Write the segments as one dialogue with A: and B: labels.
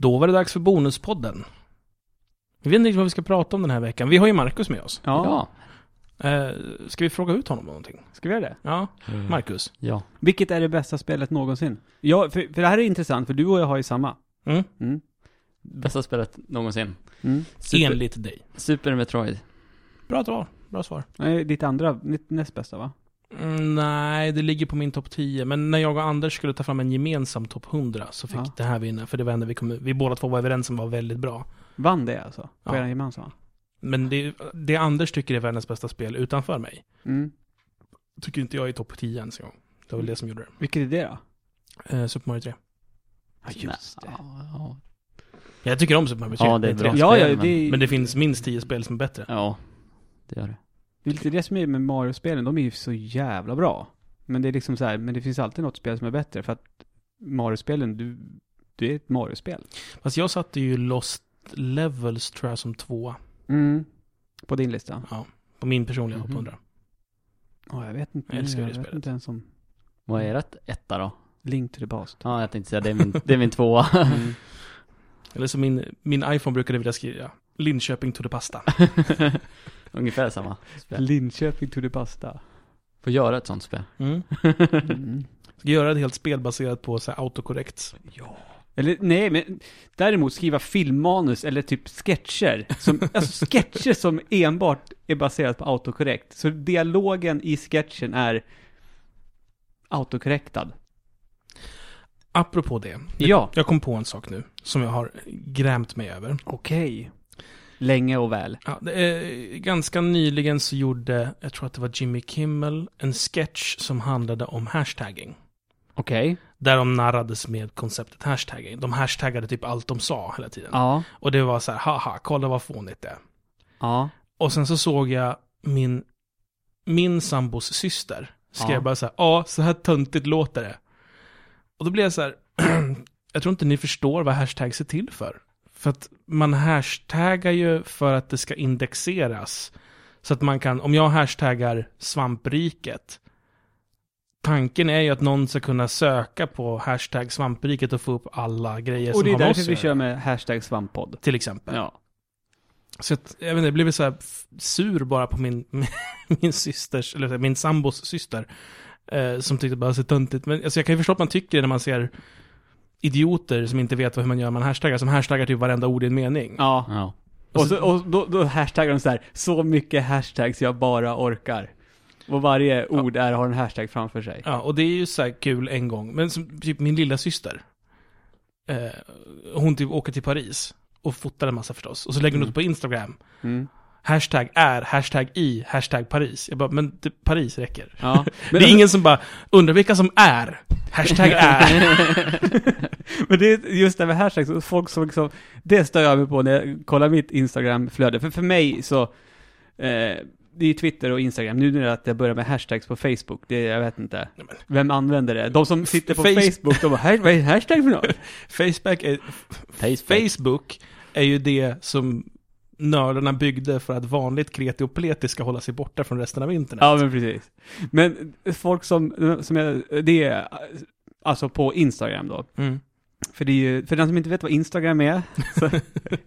A: Då var det dags för Bonuspodden. Vi vet inte riktigt vad vi ska prata om den här veckan. Vi har ju Marcus med oss.
B: Ja,
C: Ja,
A: Eh, ska vi fråga ut honom om någonting?
B: ska vi göra det?
A: Ja, Marcus.
C: Mm. ja.
B: Vilket är det bästa spelet någonsin? Ja, för, för det här är intressant, för du och jag har ju samma.
A: Mm?
B: Mm.
C: Bästa spelet någonsin.
B: Mm.
C: Super,
A: Enligt dig.
C: Super Metroid.
A: Bra svar. Bra svar.
B: Nej, Ditt andra, ditt näst bästa va?
A: Mm, nej, det ligger på min topp 10. Men när jag och Anders skulle ta fram en gemensam topp 100 så fick
B: Ja.
A: det här vinna. För det var ändå vi kom Vi båda två var överens om var väldigt bra.
B: Vann det alltså? På
A: Ja.
B: eran gemensamma?
A: Men det, det Anders tycker är världens bästa spel utanför mig,
B: Mm.
A: tycker inte jag är topp 10 ens en gång. Det var väl det som gjorde det.
B: Vilket är det då?
A: Eh, Super Mario 3.
B: Ja, just det.
C: Ja,
A: Jag tycker om Super Mario 3.
C: Ja, det är bra.
B: Ja, ja,
C: Spel,
B: det är,
A: Men det finns minst 10 spel som är bättre.
C: ja, det gör det.
B: det är lite det som är med Mario-spelen, de är ju så jävla bra. Men det är liksom så här, men det finns alltid något spel som är bättre för att Mario-spelen, du, det är ett Mario-spel.
A: Fast jag satte ju Lost Levels tror jag som tvåa
B: Mm. På din lista?
A: på min personliga topp
C: Mhm.
A: 100.
B: Ja, jag vet inte.
A: Jag älskar det
B: vet
A: spelet.
B: inte ens om
C: Vad är rätt etta då?
B: Link to the Past.
C: Ja, jag tänkte säga det är min, det är min tvåa.
B: Mm.
A: Eller som min, min iPhone brukade vilja skriva, Linköping to the pasta.
C: Ungefär samma spel.
B: Linköping to the Pasta.
C: Får göra ett sånt spel.
A: Mm.
B: Mm.
A: Ska göra ett helt spel baserat på så här autocorrect.
B: Eller nej, men däremot skriva filmmanus eller typ sketcher. Som, alltså sketcher som enbart är baserat på autokorrekt. Så dialogen i sketchen är autokorrektad.
A: Apropå det,
B: Ja.
A: jag kom på en sak nu som jag har grämt mig över.
B: Okej. Länge och väl.
A: Ja, det är, ganska nyligen så gjorde, jag tror att det var Jimmy Kimmel, en sketch som handlade om hashtagging.
B: Okej.
A: Där de narrades med konceptet hashtagging. De hashtaggade typ allt de sa hela tiden.
B: Ja.
A: Och det var så här, haha, kolla vad fånigt det är.
B: Ja.
A: Och sen så såg jag min, min sambos syster skrev
B: Ja.
A: bara så här, ja, så här töntigt låter det. Och då blev jag så här, jag tror inte ni förstår vad hashtags är till för. För att man hashtaggar ju för att det ska indexeras. Så att man kan, om jag hashtaggar svampriket, tanken är ju att någon ska kunna söka på hashtag svampriket och få upp alla grejer
B: Och
A: som
B: det är
A: har med
B: därför
A: oss
B: vi
A: att
B: kör
A: göra,
B: med hashtag svamppodd.
A: Till exempel.
B: Ja.
A: Så att, jag vet inte, jag blev så här f- sur bara på min, min systers, eller min sambos syster. Eh, som tyckte bara så töntigt. Men alltså, jag kan ju förstå att man tycker det när man ser idioter som inte vet vad hur man gör man hashtaggar, som hashtaggar typ varenda ord i en mening.
B: Ja.
C: Ja.
B: Och, så, och då, då hashtaggar de så här, så mycket hashtags jag bara orkar. Och varje ord är, har en hashtag framför sig.
A: Ja, och det är ju så här kul en gång. Men som, typ min lilla syster eh, hon typ åker till Paris och fotar en massa förstås. Och så lägger hon ut på Instagram.
B: Mm.
A: Hashtag är, hashtag i, hashtag Paris. Jag bara, men det, Paris räcker.
B: Ja.
A: det är ingen som bara undrar vilka som är. Hashtag är.
B: Men det är just det med hashtags, och folk som liksom, det stör jag mig på när jag kollar mitt Instagram-flöde. För för mig så, eh, det är ju Twitter och Instagram, nu när det att jag börjar med hashtags på Facebook, det jag vet inte.
A: Nej, men-
B: Vem använder det? De som sitter på
A: Face-
B: Facebook, de bara, "Här- vad är hashtag för något?
A: Facebook är,
C: Facebook.
A: Facebook är ju det som nördarna byggde för att vanligt kreti och pleti ska hålla sig borta från resten av internet.
B: ja, men precis. Men folk som, som jag, det är, alltså på Instagram då.
A: Mm.
B: För det är ju, för den som inte vet vad Instagram är, så är det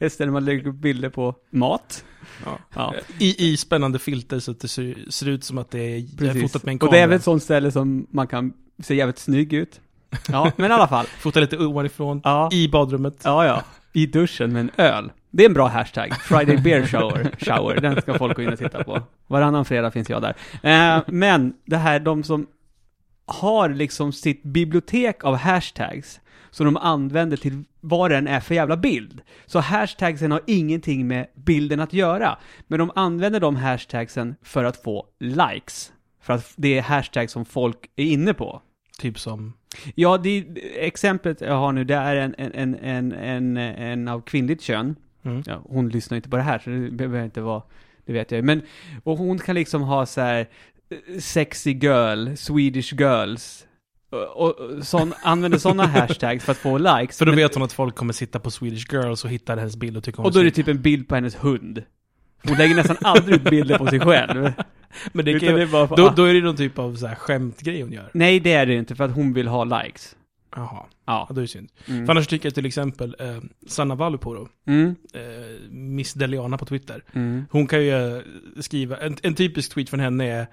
B: ett ställe man lägger upp bilder på mat.
A: Ja.
B: Ja.
A: I, I spännande filter så att det ser, ser ut som att det är jag har
B: Precis.
A: fotat med en
B: Och det är
A: kamera.
B: väl ett sånt ställe som man kan se jävligt snygg ut. Ja, men i alla fall.
A: Fotat lite ovanifrån,
B: Ja,
A: i badrummet.
B: ja, ja. I duschen med en öl. Det är en bra hashtag. Friday beer shower. shower. Den ska folk gå in och titta på. Varannan fredag finns jag där. Eh, men det här, de som har liksom sitt bibliotek av hashtags som de använder till vad den är för jävla bild. Så hashtagsen har ingenting med bilden att göra. Men de använder de hashtagsen för att få likes. För att det är hashtags som folk är inne på.
A: Typ som,
B: Ja, det exemplet jag har nu, det är en, en, en, en, en, en av kvinnligt kön.
A: Mm.
B: Ja, hon lyssnar inte på det här, så det behöver inte vara, det vet jag ju. Men, och hon kan liksom ha så här eh, sexy girl, Swedish girls. Och, och sån, använder sådana hashtags för att få likes.
A: för då
B: Men-
A: vet hon att folk kommer sitta på Swedish Girls och hitta hennes bild och tycka hon
B: och då är det
A: snygg.
B: typ en bild på hennes hund. Hon lägger nästan aldrig ut bilder på sig själv.
A: Men det kan,
B: typ- Utan
A: ju-
B: det är bara för,
A: då,
B: ah,
A: då är det någon typ av så här skämtgrej hon gör.
B: Nej, det är det inte, för att hon vill ha likes.
A: Jaha,
B: Ja.
A: ja, då är det synd.
B: Mm.
A: För annars tycker jag till exempel eh, Sanna Valupuro,
B: Mm.
A: eh, Miss Deliana på Twitter.
B: Mm.
A: Hon kan ju eh, skriva, en, en typisk tweet från henne är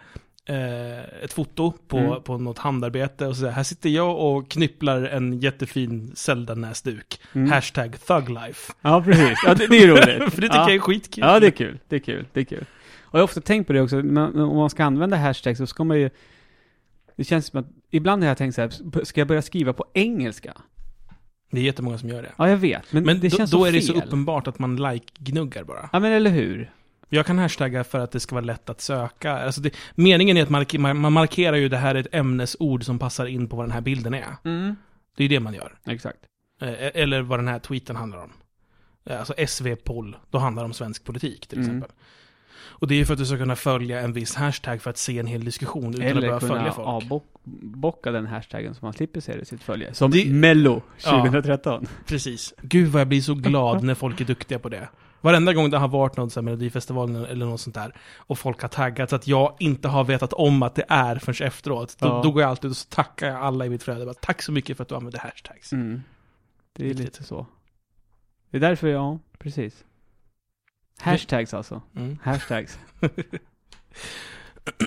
A: eh, ett foto på,
B: Mm.
A: på något handarbete och så säger här sitter jag och knipplar en jättefin Zelda-näsduk.
B: Mm.
A: Hashtag thuglife.
B: Ja, precis. Ja, det, det är ju roligt.
A: För det tycker
B: ja.
A: jag är skitkul.
B: Ja, det är kul. Det är kul. Det är kul. Och jag har ofta tänkt på det också, men men om man ska använda hashtags så ska man ju... Det känns som att, ibland har jag tänkt så här, ska jag börja skriva på engelska?
A: Det är jättemånga som gör det.
B: Ja, jag vet, men,
A: Men
B: Mm, det
A: då,
B: känns
A: då
B: så
A: är det så
B: fel.
A: uppenbart att man like-gnuggar bara.
B: Ja, men eller hur?
A: Jag kan hashtagga för att det ska vara lätt att söka. Alltså det, meningen är att mark- man, man markerar ju det här är ett ämnesord som passar in på vad den här bilden är.
B: Mm.
A: Det är ju det man gör.
B: Exakt.
A: Eh, Eller vad den här tweeten handlar om. Eh, Alltså SV-poll, då handlar det om svensk politik till
B: Mm.
A: exempel. Och det är ju för att du ska kunna följa en viss hashtag för att se en hel diskussion utan att
B: Eller
A: behöva
B: kunna
A: följa folk.
B: avbocka den hashtaggen så man slipper se det i sitt följe. Som
A: Det-
B: Mello
A: Ja.
B: 2013.
A: Precis. Gud vad jag blir så glad när folk är duktiga på det. Varenda gång det har varit någon sån här Melodifestivalen eller något sånt där och folk har taggat så att jag inte har vetat om att det är förrän efteråt. Då,
B: Ja.
A: då går jag alltid och så tackar jag alla i mitt flöde. Bara, Tack så mycket för att du använde hashtags.
B: Mm. Det är
A: Riktigt.
B: lite så. Det är därför, ja, precis. Hashtags alltså.
A: Mm.
B: Hashtags.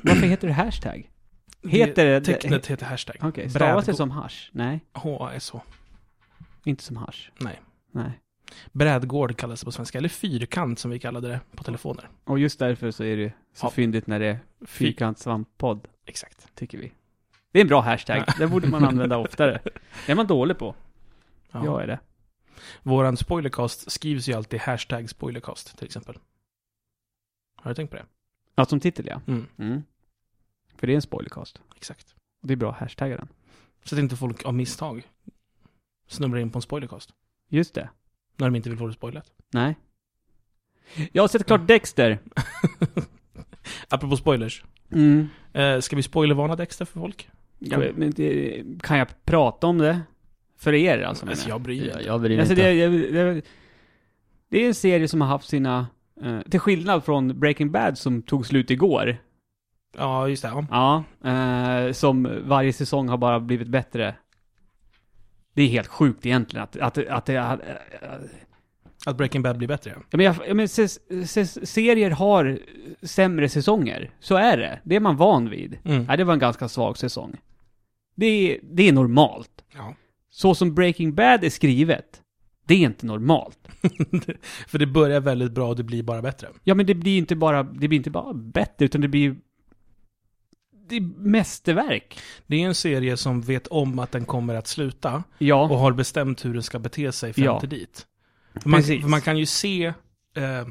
B: Varför heter det hashtag? Heter det...
A: Tecknet heter hashtag.
B: Okej, stavas det
A: Brädgå-
B: som hash? Nej,
A: H-A-S-H.
B: inte som hash.
A: Nej.
B: Nej.
A: Brädgård kallas det på svenska, eller fyrkant som vi kallade det på telefoner.
B: Och just därför så är det så
A: Ja.
B: fyndigt när det är fyrkantssvamppodd,
A: Exakt.
B: tycker vi. Det är en bra hashtag. Det borde man använda oftare. Det är man dålig på.
A: Ja.
B: Jag är det.
A: Våran spoilercast skrivs ju alltid hashtag spoilercast till exempel. Har du tänkt på det?
B: Ja, som titel ja.
A: Mm,
B: Mm. För det är en spoilercast.
A: exakt.
B: Och det är bra att hashtagga den.
A: Så att inte folk av misstag snubblar in på en spoilercast.
B: Just det.
A: När de inte vill få det spoilat.
B: Nej. Jag har sett klart Dexter.
A: Apropå spoilers.
B: Mm.
A: Eh, ska vi spoilervarna Dexter för folk?
B: Ja, men det, kan jag prata om det? För er alltså? menar
A: Alltså jag bryr mig
C: Jag,
A: inte.
C: jag bryr mig
B: Alltså
C: inte.
B: det, det, det, det är en serie som har haft sina... Eh, till skillnad från Breaking Bad som tog slut igår.
A: Ja, just det. Ja.
B: Ja. Eh, som varje säsong har bara blivit bättre. Det är helt sjukt egentligen att, att, att det... Att,
A: Att Breaking Bad blir bättre.
B: jag men, jag, jag men, ses, ses, serier har sämre säsonger. Så är det. Det är man van vid.
A: Mm.
B: Nej, det var en ganska svag säsong. Det är, det är normalt.
A: Ja.
B: Så som Breaking Bad är skrivet, det är inte normalt.
A: för det börjar väldigt bra och det blir bara bättre.
B: Ja, men det blir inte bara, det blir inte bara bättre, utan det blir... Det är mästerverk.
A: Det är en serie som vet om att den kommer att sluta.
B: Ja.
A: och har bestämt hur den ska bete sig fram
B: Ja.
A: till dit. För Man,
B: Precis.
A: för man kan ju se, eh,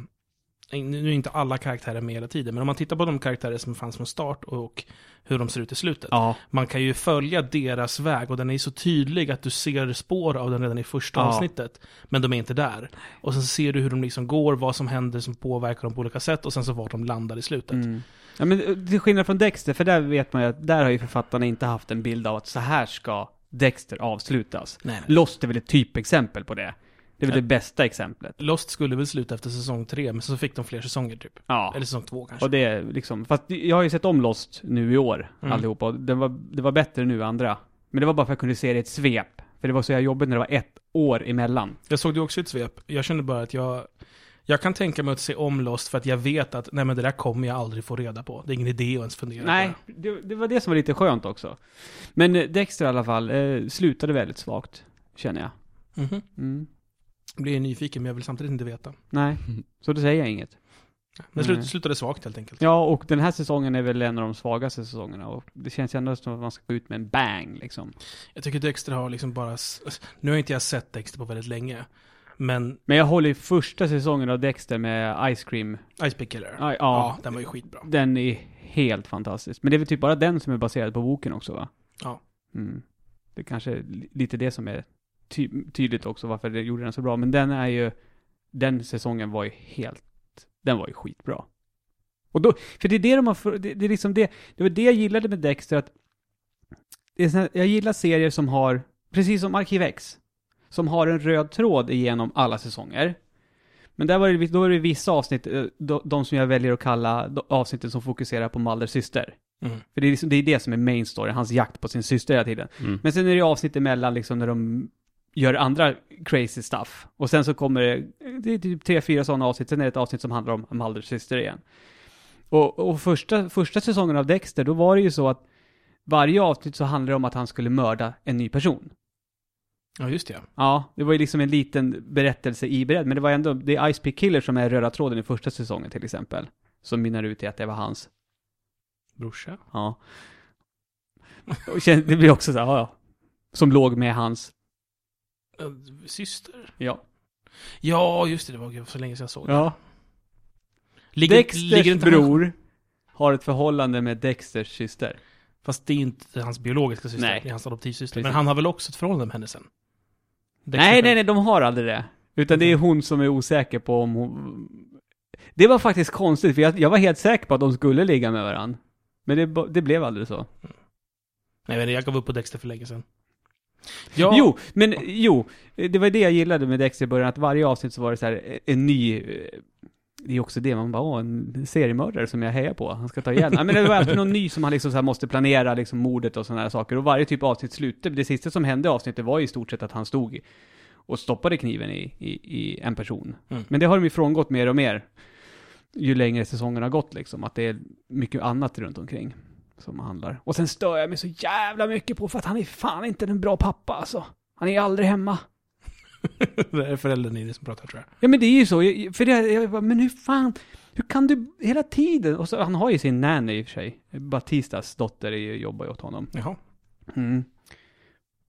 A: nu är inte alla karaktärer med hela tiden, men om man tittar på de karaktärer som fanns från start och hur de ser ut i slutet.
B: ja.
A: Man kan ju följa deras väg och den är så tydlig att du ser spår av den redan i första
B: Ja.
A: avsnittet. Men de är inte där. Och sen ser du hur de liksom går, vad som händer som påverkar dem på olika sätt och sen så vart de landar i slutet.
B: Mm. Ja, men eh, till skillnad från Dexter, för där vet man ju att där har ju författarna inte haft en bild av att så här ska Dexter avslutas.
A: Nej, nej.
B: Lost är väl ett typexempel på det. Det är väl
A: Ja.
B: det bästa exemplet.
A: Lost skulle väl sluta efter säsong tre, men så fick de fler säsonger typ.
B: Ja.
A: Eller säsong två kanske.
B: Och det är liksom, fast jag har ju sett om Lost nu i år,
A: Mm.
B: allihopa. Och Det var, det var bättre nu än andra. Men det var bara för att jag kunde se det i ett svep. För det var så jag jobbigt när det var ett år emellan.
A: Jag såg det också i ett svep. Jag kände bara att jag... Jag kan tänka mig att se om Lost för att jag vet att nej men det där kommer jag aldrig få reda på. Det är ingen idé att ens fundera
B: Nej,
A: på
B: det, det var det som var lite skönt också. Men eh, Dexter i alla fall, eh, slutade väldigt svagt, känner jag.
A: det. Mhm.
B: Mm.
A: Jag blir nyfiken men jag vill samtidigt inte veta.
B: Nej, så då säger jag inget.
A: Men slut,
B: Nej.
A: slutade svagt helt enkelt.
B: Mm. Ja, och den här säsongen är väl en av de svagaste säsongerna och det känns ju ändå som att man ska gå ut med en bang liksom.
A: Jag tycker Dexter har liksom bara... s- Nu har inte jag sett Dexter på väldigt länge. Men
B: Men jag håller ju första säsongen av Dexter med Ice Cream.
A: Ice Pick Killer,
B: Ja,
A: ja
B: ja,
A: den var ju skitbra.
B: den är helt fantastisk. Men det är väl typ bara den som är baserad på boken också va?
A: Ja.
B: Mm. Det kanske är li- lite det som är ty- tydligt också varför det gjorde den så bra. Men den är ju, den säsongen var ju helt, den var ju skitbra. Och då, för det är det de har, för- det, det är liksom det, det var det jag gillade med Dexter att, det är såna, jag gillar serier som har, precis som Arkiv X, som har en röd tråd igenom alla säsonger. Men där var det, då var det vissa avsnitt, eh, de, de som jag väljer att kalla de avsnitten som fokuserar på Mulders syster.
A: Mm.
B: För det är, liksom, det är det som är main story, hans jakt på sin syster hela tiden.
C: Mm.
B: Men sen är det ju avsnitt emellan liksom när de gör andra crazy stuff. Och sen så kommer det, det är typ tre, fyra sådana avsnitt, sen är det ett avsnitt som handlar om Malders syster igen. Och, och första, första säsongen av Dexter, då var det ju så att varje avsnitt så handlade det om att han skulle mörda en ny person.
A: Ja, just det.
B: Ja, det var ju liksom en liten berättelse i beredd, men det var ändå, det är Ice Pick Killer som är röda tråden i första säsongen till exempel. Som mynnar ut i att det var hans.
A: Brorsa.
B: Ja. Och kän- det blir också så här, ja, ja. Som låg med hans,
A: Eh, Syster.
B: ja.
A: Ja, just det. Det var så länge sedan jag såg det.
B: ja.
A: Ligger,
B: Dexters
A: ligger inte han-
B: bror har ett förhållande med Dexters syster.
A: Fast det är inte hans biologiska syster,
B: Nej.
A: det är hans adoptivsyster.
B: Precis.
A: Men han har väl också ett förhållande med henne sen?
B: Nej, nej, nej, de har aldrig det. Utan det är hon som är osäker på om hon... Det var faktiskt konstigt, för jag, jag var helt säker på att de skulle ligga med varandra. Men det, ba- det blev aldrig så.
A: Nej, men jag gav upp på Dexter för länge sedan. Ja,
B: Jo, men jo, det var det jag gillade med Dexter i början, att varje avsnitt så var det så här en ny... eh, Det är också det man bara, åh, en seriemördare som jag hejar på, han ska ta igen. Nej, men det var alltid någon ny som han liksom så här måste planera, liksom mordet och sådana här saker. Och varje typ av avsnitt slutade, det sista som hände i avsnittet var ju i stort sett att han stod och stoppade kniven i, i, i en person.
A: Mm.
B: Men det har de ju frångått mer och mer, ju längre säsongen har gått liksom, att det är mycket annat runt omkring som handlar. Och sen stör jag mig så jävla mycket på för att han är fan inte en bra pappa alltså. Han är aldrig hemma.
A: det är föräldern i det som pratar tror jag.
B: Ja men det är ju så, Jag- för det, jag bara, men hur fan, hur kan du hela tiden? Och så, han har ju sin nanny i och för sig. Batistas dotter är ju, jobbar ju åt honom.
A: Jaha.
B: Mm.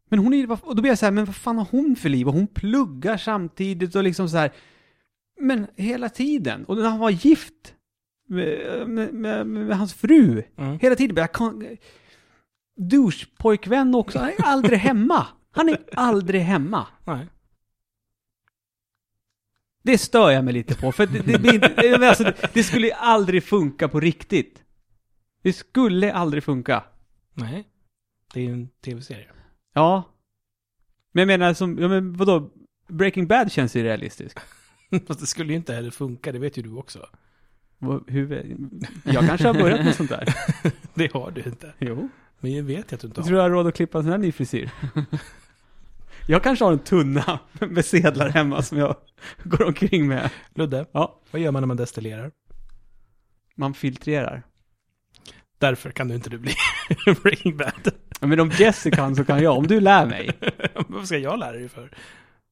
B: Men hon är ju- och då blir jag så här, men vad fan har hon för liv? Och hon pluggar samtidigt och liksom så här, men hela tiden. Och när han var gift med, med, med, med hans fru,
A: Mm.
B: Hela tiden bara, jag kan... Douche-pojkvän också, han är aldrig hemma. Han är aldrig hemma.
A: Nej.
B: Det stör jag mig lite på, för det, det, blir inte, men alltså, det, det skulle ju aldrig funka på riktigt. Det skulle aldrig funka.
A: Nej. Det är ju en tv-serie.
B: Ja. Men jag menar som, ja, men vadå? Breaking Bad känns ju realistisk.
A: Fast det skulle ju inte heller funka, det vet ju du också.
B: Vad- Hur, jag kanske har börjat med sånt där.
A: Det har du inte.
B: Jo.
A: Men jag vet ju att du inte
B: Jag
A: har.
B: tror jag har råd att klippa en sån här ny frisyr. Jag kanske har en tunna med sedlar hemma som jag går omkring med.
A: Ludde,
B: Ja.
A: vad gör man när man destillerar?
B: Man filtrerar.
A: Därför kan du inte du bli Breaking Bad.
B: Ja, Men om Jesse kan så kan jag, om du lär mig.
A: Vad ska jag lära dig för?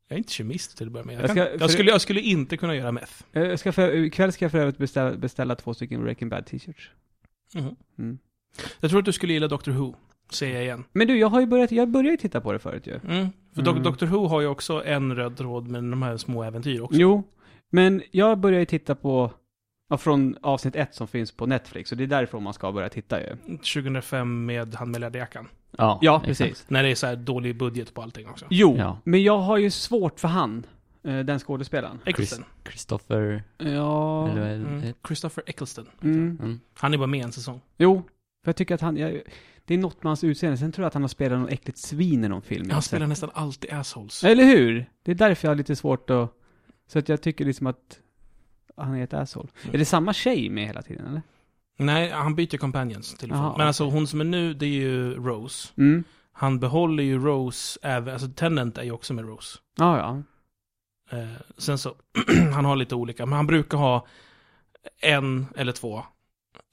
A: Jag är inte kemist till att börja med. Jag,
B: Jag
A: kan,
B: ska- för-
A: jag, skulle, jag skulle inte kunna göra meth.
B: Eh, Jag ska för, ikväll ska jag för övrigt beställa, beställa två stycken Breaking Bad t-shirts.
A: Mhm.
B: Mm.
A: Jag tror att du skulle gilla Doctor Who, säger jag igen.
B: Men du, jag har ju börjat, jag började ju titta på det förut ju.
A: Mm. För
B: Mm.
A: Doctor Who har ju också en röd tråd med de här små äventyr också.
B: Jo, men jag började ju titta på, ja, från avsnitt ett som finns på Netflix, och det är därifrån man ska börja titta ju.
A: 2005 med han med läderjackan.
C: Ja,
B: Ja,
C: exakt.
B: precis.
A: När det är så här dålig budget på allting också.
B: Liksom. Jo,
C: Ja.
B: men jag har ju svårt för han, eh, den skådespelaren.
A: Eccleston.
C: Christopher...
B: Ja,
C: Eller,
A: Mm. Christopher Eccleston.
B: mm.
C: mm.
A: Han är bara med en säsong.
B: jo, för jag tycker att han, jag, det är något med hans utseende, sen tror jag att han har spelat något äckligt svin i någon film. jag har
A: Han
B: sett.
A: spelar nästan alltid assholes.
B: Eller hur? Det är därför jag har lite svårt att... Så att jag tycker liksom att han är ett asshole. Är det samma tjej med hela tiden eller?
A: Nej, han byter companions till och
B: Jaha,
A: från. Men
B: okej.
A: alltså hon som är nu, det är ju Rose.
B: Mm.
A: Han behåller ju Rose även, alltså Tennant är ju också med Rose.
B: Ja, ja.
A: Eh, sen så, han har lite olika, men han brukar ha en eller två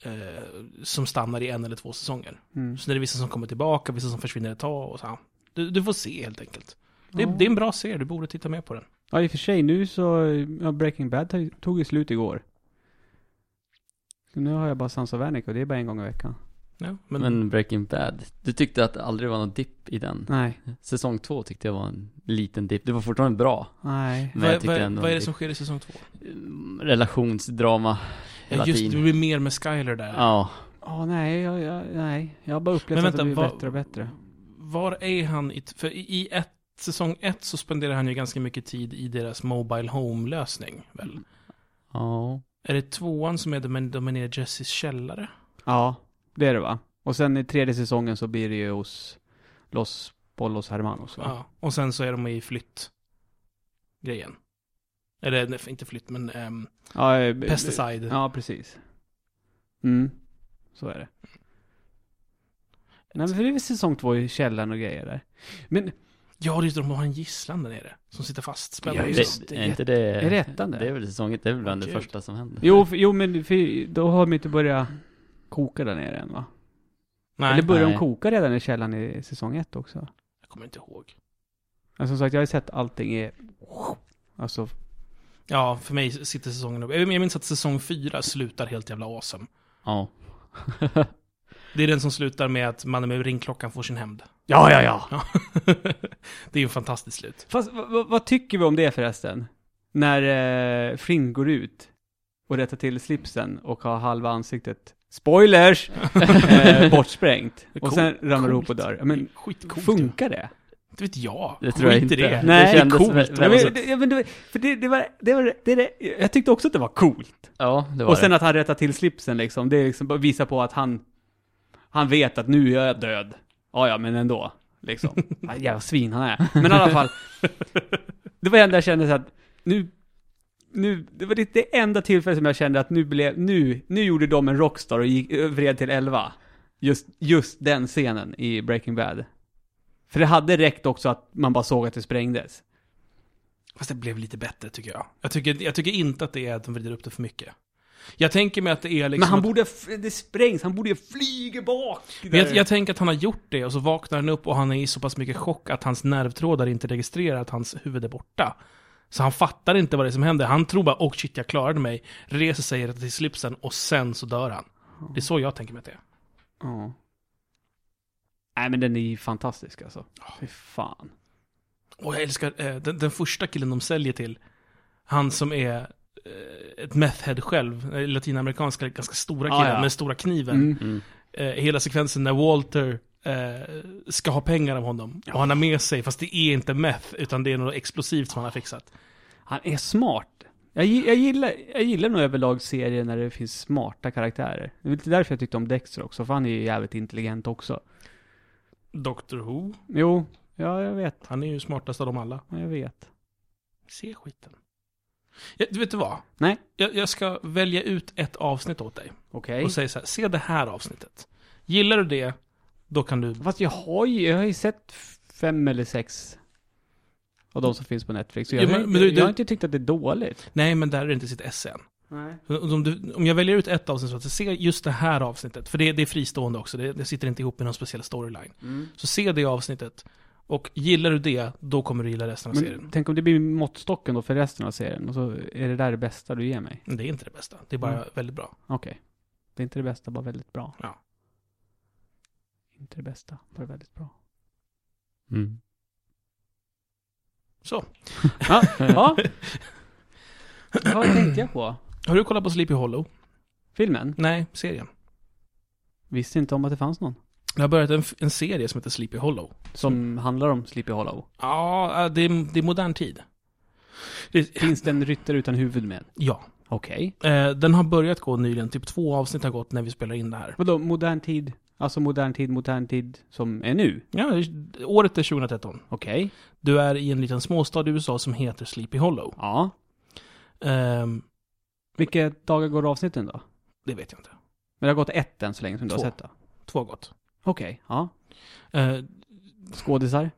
A: eh, som stannar i en eller två säsonger.
B: Mm.
A: Så det är vissa som kommer tillbaka, vissa som försvinner ett tag och så. här. Du, du får se helt enkelt. Det,
B: Ja.
A: det är en bra serie, du borde titta mer på den.
B: Ja, i och för sig nu så... Ja, Breaking Bad tog- tog ju slut igår. Så nu har jag bara Sons of Anarchy och det är bara en gång i veckan.
A: Ja, men,
C: Men Breaking Bad. Du tyckte att det aldrig var någon dipp i den.
B: Nej.
C: Säsong två tyckte jag var en liten dipp. Det var fortfarande bra.
B: Nej.
C: Men jag
A: vad,
C: tyckte
A: vad,
C: ändå
A: vad är det
C: det-
A: som sker i säsong två?
C: Mm, Relationsdrama. Hela
A: Just det,
C: tiden.
A: det blir mer med Skyler där.
C: Ja.
B: Ja, nej, jag, jag, nej. Jag har bara upplevt
A: Men
B: att
A: vänta,
B: det blir
A: vad-
B: bättre och bättre.
A: Var är han i, för i i ett, säsong ett så spenderar han ju ganska mycket tid i deras Mobile Home-lösning,
C: Mm.
A: väl?
C: Ja.
A: Är det tvåan som är de, de är nere i Jessys källare?
B: Ja, det är det va? Och sen i tredje säsongen så blir det ju hos Los Bollos Hermanos va?
A: Ja, och sen så är de i flytt-grejen. Eller nej, inte flytt, men ehm,
B: Ja, eh, b-
A: pesticide.
B: Ja, precis. Mm, så är det. Nej, men för det är väl säsong två i källaren och grejer där. Men
A: Ja, det är just det, de har en gisslan där nere. Som sitter fastspänd.
B: Ja,
A: Ja,
B: just
C: det,
B: det.
C: är inte det...
B: Är det ettan Eh, det?
C: Det är väl säsongen, det är väl bland det
A: Gud.
C: första som händer.
B: Jo, för, jo men för, då har de inte börjat koka där nere än va?
A: Nej,
B: Eller börjar de
C: Nej.
B: koka redan i källaren i säsong ett också?
A: jag kommer inte ihåg.
B: Men som sagt, jag har ju sett allting i... Alltså,
A: Ja, för mig sitter säsongen upp. Jag minns att säsong fyra slutar helt jävla awesome.
C: Ja.
A: Det är den som slutar med att mannen med ringklockan får sin hämnd.
B: ja, ja, ja.
A: Ja. det är ju en fantastisk slut.
B: Fast vad- vad- vad tycker vi om det förresten? När eh, Flynn går ut och rättar till slipsen och har halva ansiktet, spoilers, eh, bortsprängt. Och sen
A: Coolt.
B: ramlar ihop och
A: Coolt.
B: dör. Ja, Men
A: Skitcoolt. ju.
B: funkar det?
A: Det vet jag.
C: Det tror jag
A: Skit i
C: inte.
A: Det.
B: Nej, det
A: det är
C: kändes
A: coolt.
C: väl-
B: Ja,
A: men-
C: väl-
B: men, det, ja, men det, för det, det var, det var, det, det, jag tyckte också att det var coolt.
C: Ja, det var
B: Och sen
C: det.
B: att han rättar till slipsen liksom, det är liksom bara visar på att han, han vet att nu är jag död. Ja, ja, men ändå. Liksom. Ja, Jävla svin han är. Men i alla fall. Det var det enda jag kände så att, nu, nu, det var det, det enda tillfället som jag kände att nu blev, nu, nu gjorde de en rockstar och gick, vred till 11. Just, just den scenen i Breaking Bad. För det hade räckt också att man bara såg att det sprängdes.
A: Fast det blev lite bättre tycker jag. Jag tycker, jag tycker inte att det är att de vrider upp det för mycket. Jag tänker mig att det är liksom...
B: Men han
A: att-
B: borde, f- det sprängs, han borde flyga bak!
A: Men jag, jag tänker att han har gjort det och så vaknar han upp och han är i så pass mycket chock att hans nervtrådar inte registrerar att hans huvud är borta. Så han fattar inte vad det är som händer. Han tror bara åh shit, jag klarade mig. Reser sig till slipsen och sen så dör han. Det är så jag tänker mig att det är.
B: Ja. Nej men den är ju fantastisk alltså. Fy fan.
A: Och jag älskar eh, den, den första killen de säljer till. Han som är eh, ett methhead själv. eh, Latinamerikansk, ganska stora
B: Ah,
A: killen
B: ja.
A: med stora kniven.
B: Mm.
C: Mm.
A: eh, hela sekvensen när Walter eh, ska ha pengar av honom. Och han har med sig, fast det är inte meth, utan det är något explosivt som han har fixat.
B: Han är smart. Jag, gi- jag, gillar, jag gillar nog överlag serier när det finns smarta karaktärer. Det är lite därför jag tyckte om Dexter också, för han är ju jävligt intelligent också.
A: Doctor Who,
B: Jo, ja jag vet,
A: han är ju smartast av dem alla.
B: ja, jag vet.
A: Se skiten. Ja, du vet du vad?
B: Nej.
A: Jag, jag ska välja ut ett avsnitt åt dig.
B: Okej.
A: Och säga så här, se det här avsnittet. Gillar du det, då kan du...
B: Fast jag har ju, jag har ju sett f- fem eller sex av de som finns på Netflix. Så jag,
A: Jo,
B: har
A: men- men
B: inte,
A: du-
B: jag har
A: du-
B: inte tyckt att det är dåligt.
A: Nej, men där är det inte sitt SN.
B: Nej.
A: Om, du, om jag väljer ut ett avsnitt så att jag ser just det här avsnittet, för det, det är fristående också, det, det sitter inte ihop med någon speciell storyline.
B: Mm.
A: Så se det avsnittet, och gillar du det, då kommer du gilla resten av
B: Men
A: serien.
B: tänk om det blir måttstocken då för resten av serien och så är det där det bästa du ger mig.
A: Men Det är inte det bästa, det är bara
B: Mm.
A: väldigt bra.
B: Okej. Det är inte det bästa, bara väldigt bra.
A: Ja.
B: Inte det bästa, bara väldigt bra.
C: Mm.
A: Så,
B: Ja, ja. vad tänkte jag på?
A: har du kollat på Sleepy Hollow?
B: Filmen?
A: Nej, serien.
B: Visste inte om att det fanns någon.
A: Det har börjat en, f- en serie som heter Sleepy Hollow.
B: Som handlar om Sleepy Hollow.
A: Ja, eh, det är, det är modern tid. Det,
B: Finns det en ryttare utan huvud med?
A: ja,
B: Okej.
A: eh, den har börjat gå nyligen, typ två avsnitt har gått när vi spelar in det här.
B: Vadå, modern tid? Alltså modern tid, modern tid som är nu?
A: Ja, det- året är 2013.
B: Okej.
A: Du är i en liten småstad i USA som heter Sleepy Hollow.
B: Ja.
A: Ehm,
B: Vilka dagar går avsnitten då?
A: det vet jag inte.
B: Men det har gått ett än så länge som du har
A: Två.
B: sett då?
A: Två har gått.
B: Okej, ja.
A: Eh,
B: Skådisar?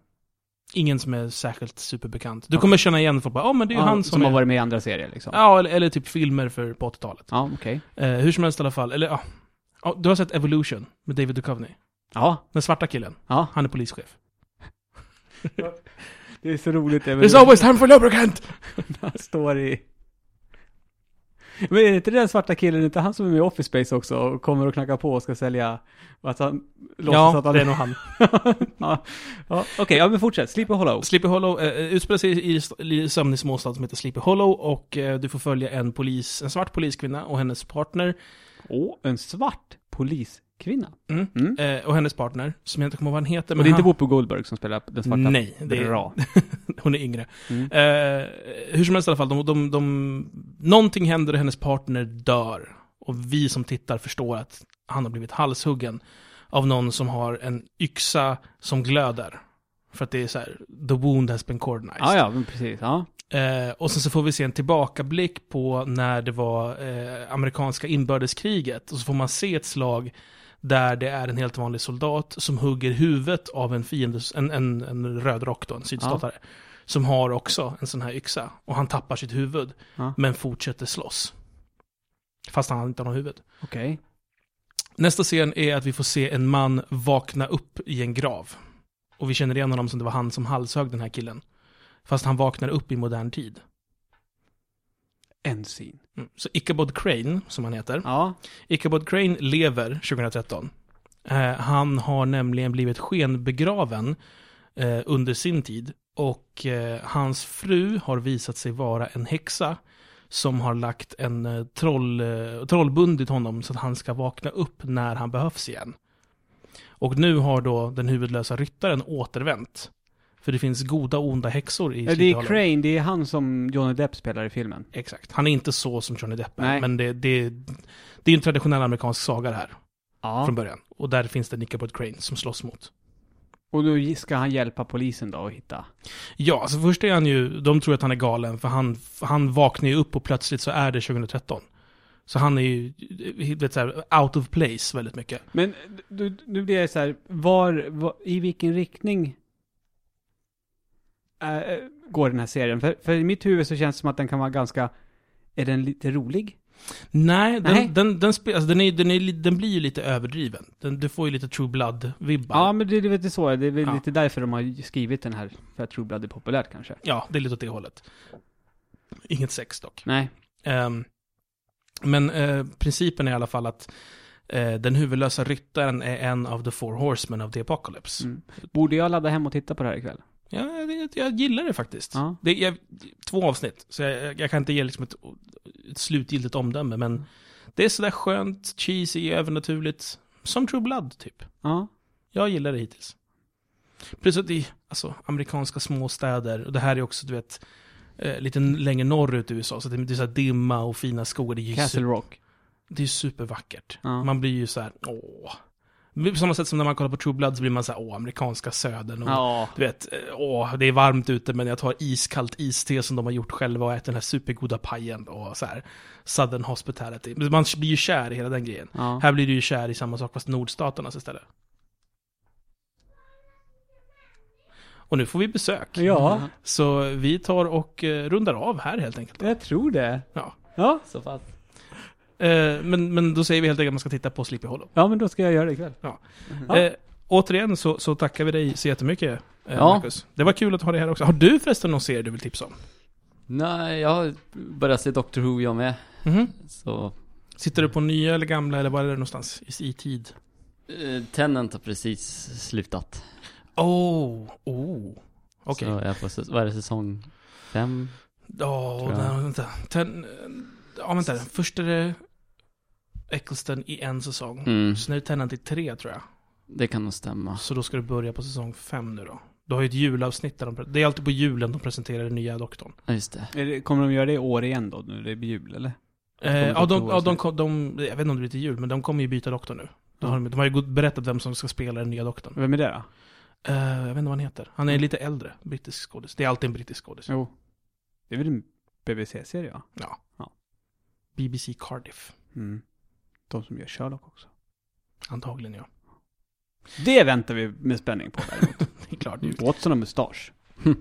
A: ingen som är särskilt superbekant. Du kommer känna igen folk bara, ja men det är ju
B: Ja,
A: han som,
B: som har
A: är...
B: varit med i andra serier liksom?
A: Ja, eller, eller typ filmer för, på 80-talet.
B: Ja, okej.
A: Eh, hur som helst i alla fall, eller ja. ja. Du har sett Evolution med David Duchovny?
B: Ja,
A: Den svarta killen.
B: ja.
A: Han är polischef.
B: Det är så roligt det
A: It's always time for lubricant!
B: han står i... Men är det inte den svarta killen, är det inte han som är med i Office Space också och kommer och knackar på och ska sälja? Och att han låtsas
A: Ja,
B: att han...
A: det är nog han.
B: ja, ja okej, ja men fortsätt. Sleepy Hollow.
A: Sleepy Hollow eh, utspelar sig i, i, i sömnig småstad som heter Sleepy Hollow och eh, du får följa en polis, en svart poliskvinna och hennes partner
B: Åh, en svart poliskvinna.
A: Mm.
B: Mm.
A: Eh, och hennes partner, som jag inte kommer ihåg vad han heter.
B: Och det är inte
A: han,
B: Whoopi Goldberg som spelar den svarta?
A: Nej, det är,
B: Bra.
A: hon är yngre.
B: Mm.
A: Eh, hur som helst i alla fall, de, de, de, någonting händer och hennes partner dör. Och vi som tittar förstår att han har blivit halshuggen av någon som har en yxa som glöder. För att det är så här, the wound has been cordonized.
B: Ah, Ja, ja, men precis. Ja.
A: Eh, och sen så får vi se en tillbakablick på när det var eh, amerikanska inbördeskriget. Och så får man se ett slag där det är en helt vanlig soldat som hugger huvudet av en fiende, en, en, en rödrock då, en sydstatare. Som har också en sån här yxa. Och han tappar sitt huvud,
B: Ja.
A: men fortsätter slåss. Fast han inte har något huvud.
B: Okej.
A: Nästa scen är att vi får se en man vakna upp i en grav. Och vi känner igen honom som det var han som halshögg den här killen. Fast han vaknar upp i modern tid.
B: En scen.
A: Mm. Så Ichabod Crane, som han heter,
B: Ja.
A: Ichabod Crane lever 2013. Eh, han har nämligen blivit skenbegraven eh, under sin tid. Och eh, hans fru har visat sig vara en häxa som har lagt en eh, troll, eh, trollbundit honom så att han ska vakna upp när han behövs igen. Och nu har då den huvudlösa ryttaren återvänt. För det finns goda och onda häxor i
B: Ja, Det är
A: Sleepy Hollow.
B: Crane, det är han som Johnny Depp spelar i filmen.
A: Exakt. Han är inte så som Johnny Depp är,
B: Nej.
A: men det, det, det är en traditionell amerikansk saga det här
B: Ja.
A: från början. Och där finns det Nickelbot Crane som slåss mot.
B: Och då ska han hjälpa polisen då att hitta.
A: Ja, så först är han ju, de tror att han är galen för han, han vaknar ju upp och plötsligt så är det 2013. Så han är ju, eh, vet så här, out of place väldigt mycket.
B: Men du, nu blir jag så här, var, var, i vilken riktning eh, går den här serien? För, för i mitt huvud så känns det som att den kan vara ganska, är den lite rolig?
A: Nej, den,
B: Nej.
A: Den, den, spe, alltså den, är, den, är, li- den blir ju lite överdriven. Den, du får ju lite true blood-vibbar.
B: Ja, men det är lite så, det är väl
A: Ja.
B: lite därför de har skrivit den här, för att True Blood är populärt kanske.
A: ja, det är lite åt det hållet. Inget sex dock.
B: Nej.
A: Ehm, men eh, principen är i alla fall att eh, den huvudlösa ryttaren är en av the four horsemen of the apocalypse.
B: Mm. Borde jag ladda hem och titta på det här ikväll?
A: Ja, det, jag gillar det faktiskt.
B: Ja.
A: Det är två avsnitt, så jag, jag kan inte ge liksom ett, ett slutgiltigt omdöme,
B: Mm.
A: men det är sådär skönt, cheesy, övernaturligt. Som True Blood, typ.
B: Ja.
A: Jag gillar det hittills. Plus att det är alltså, amerikanska småstäder, och det här är också, du vet, eh, lite längre norrut i USA, så det det är så här dimma och fina skogar. Det är ju
B: Castle Rock.
A: det är supervackert.
B: Ja.
A: Man blir ju så här, åh. På samma sätt som när man kollar på True Blood så blir man så här, åh, amerikanska södern. Och,
B: Ja.
A: Du vet, eh, åh, det är varmt ute men jag tar iskallt iste som de har gjort själva och äter den här supergoda pajen och så här. Southern hospitality. Men Man blir ju kär i hela den grejen.
B: ja.
A: Här blir du ju kär i samma sak fast nordstaternas istället. Och nu får vi besök.
B: Ja,
A: Så vi tar och eh, rundar av här helt enkelt.
B: jag tror det.
A: Ja.
B: Ja.
C: Så pass.
A: Eh, men, men då säger vi helt enkelt att man ska titta på Sleepy Hollow.
B: ja, men då ska jag göra det ikväll. Ja.
A: Eh, återigen så, så tackar vi dig så jättemycket, eh,
C: Ja.
A: Marcus. Det var kul att ha dig här också. Har du förresten någon serie du vill tipsa om?
C: Nej, jag har börjat se Doctor Who jag med.
A: Mhm.
C: Så
A: Sitter du på nya eller gamla eller var är det någonstans i, i tid?
C: eh, Tenant har precis slutat.
A: Oh, oh. Okej.
C: Så jag är på, säs- vad är det, säsong fem?
A: Ja,
C: tror jag.
A: nej, vänta. Ten, ja, vänta. Först är det Eccleston i en säsong.
C: Mm,
A: Så nu är Tenant i tre, tror jag.
C: det kan nog stämma.
A: Så då ska du börja på säsong fem nu då. Du har ju ett julavsnitt där de, pre- Det är alltid på julen de presenterar den nya doktorn.
C: Ja, just det.
B: Är det- Kommer de göra det i år igen då, nu det blir jul eller?
A: Eh, ja,
B: Doktor
A: de,
B: Who
A: ja de,
B: avsnitt.
A: kom- de, jag vet inte om det blir till jul, men de kommer ju byta doktor nu. De har, de har ju god- berättat vem som ska spela den nya doktorn.
B: Vem är det då?
A: Eh, jag vet inte vad han heter. Han är lite äldre, brittisk skådis. Det är alltid en brittisk skådis.
B: Jo. Det är väl en BBC-serie va?
A: Ja.
B: Ja.
A: BBC Cardiff,
B: Mm. De som gör Sherlock också.
A: antagligen ja.
B: Det väntar vi med spänning på däremot.
A: Det är klart. Mm.
B: Watson och mustasch.
A: Jag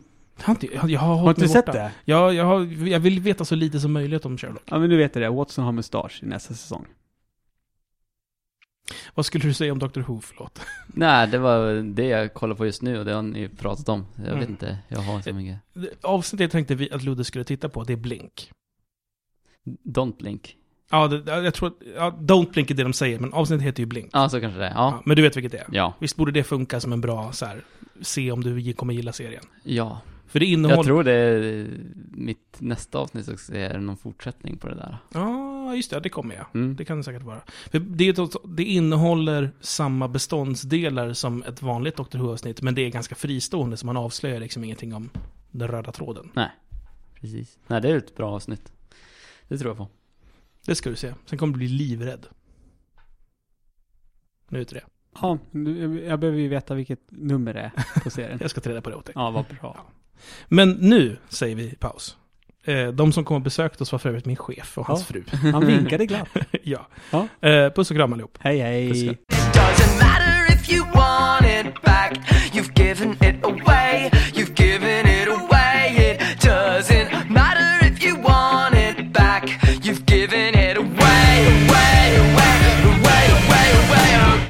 A: har inte, jag, jag har
B: Har
A: hållit
B: inte
A: mig
B: sett
A: borta.
B: det?
A: Jag, jag, har, jag vill veta så lite som möjligt om Sherlock.
B: Ja men nu vet jag det, Watson har mustasch i nästa säsong.
A: Vad skulle du säga om Dr. Who, förlåt?
C: Nej, det var det jag kollar på just nu och det har ni pratat om. Jag
A: Mm.
C: vet inte, jag har så mycket.
A: Det Avsnittet jag tänkte vi att Ludde skulle titta på, det är Blink.
C: Don't Blink.
A: Ja, det, jag tror att, ja, Don't Blink är det de säger, men avsnittet heter ju Blink.
C: Ja, så kanske det är.
A: Ja,
C: Ja.
A: men du vet vilket det är?
C: Ja.
A: Visst borde det funka som en bra så här, se om du gi- kommer gilla serien?
C: Ja.
A: För det innehåller...
C: Jag tror det är mitt nästa avsnitt också är någon fortsättning på det där.
A: Ja, just det, det kommer jag.
C: Mm.
A: Det kan det säkert vara. För det, är ett- det innehåller samma beståndsdelar som ett vanligt Dr. Who-avsnitt, men det är ganska fristående, så man avslöjar liksom ingenting om den röda tråden.
C: Precis. Nej, det är ett bra avsnitt. Det tror jag på.
A: Det ska du se. Sen kommer du bli livrädd. Nu är det det.
B: Ja, nu- jag behöver ju veta vilket nummer det är på serien.
A: Jag ska ta reda på det åt dig.
B: Ja, vad bra.
A: Men nu säger vi paus. Eh, De som kom och besökte oss var för övrigt min chef och hans
B: Ja.
A: fru.
B: Han vinkade glatt.
A: ja.
B: Ja.
A: Eh, Puss och kram allihop.
B: Hej
A: Puss,
B: hej.
A: ja.
D: Thank if you want.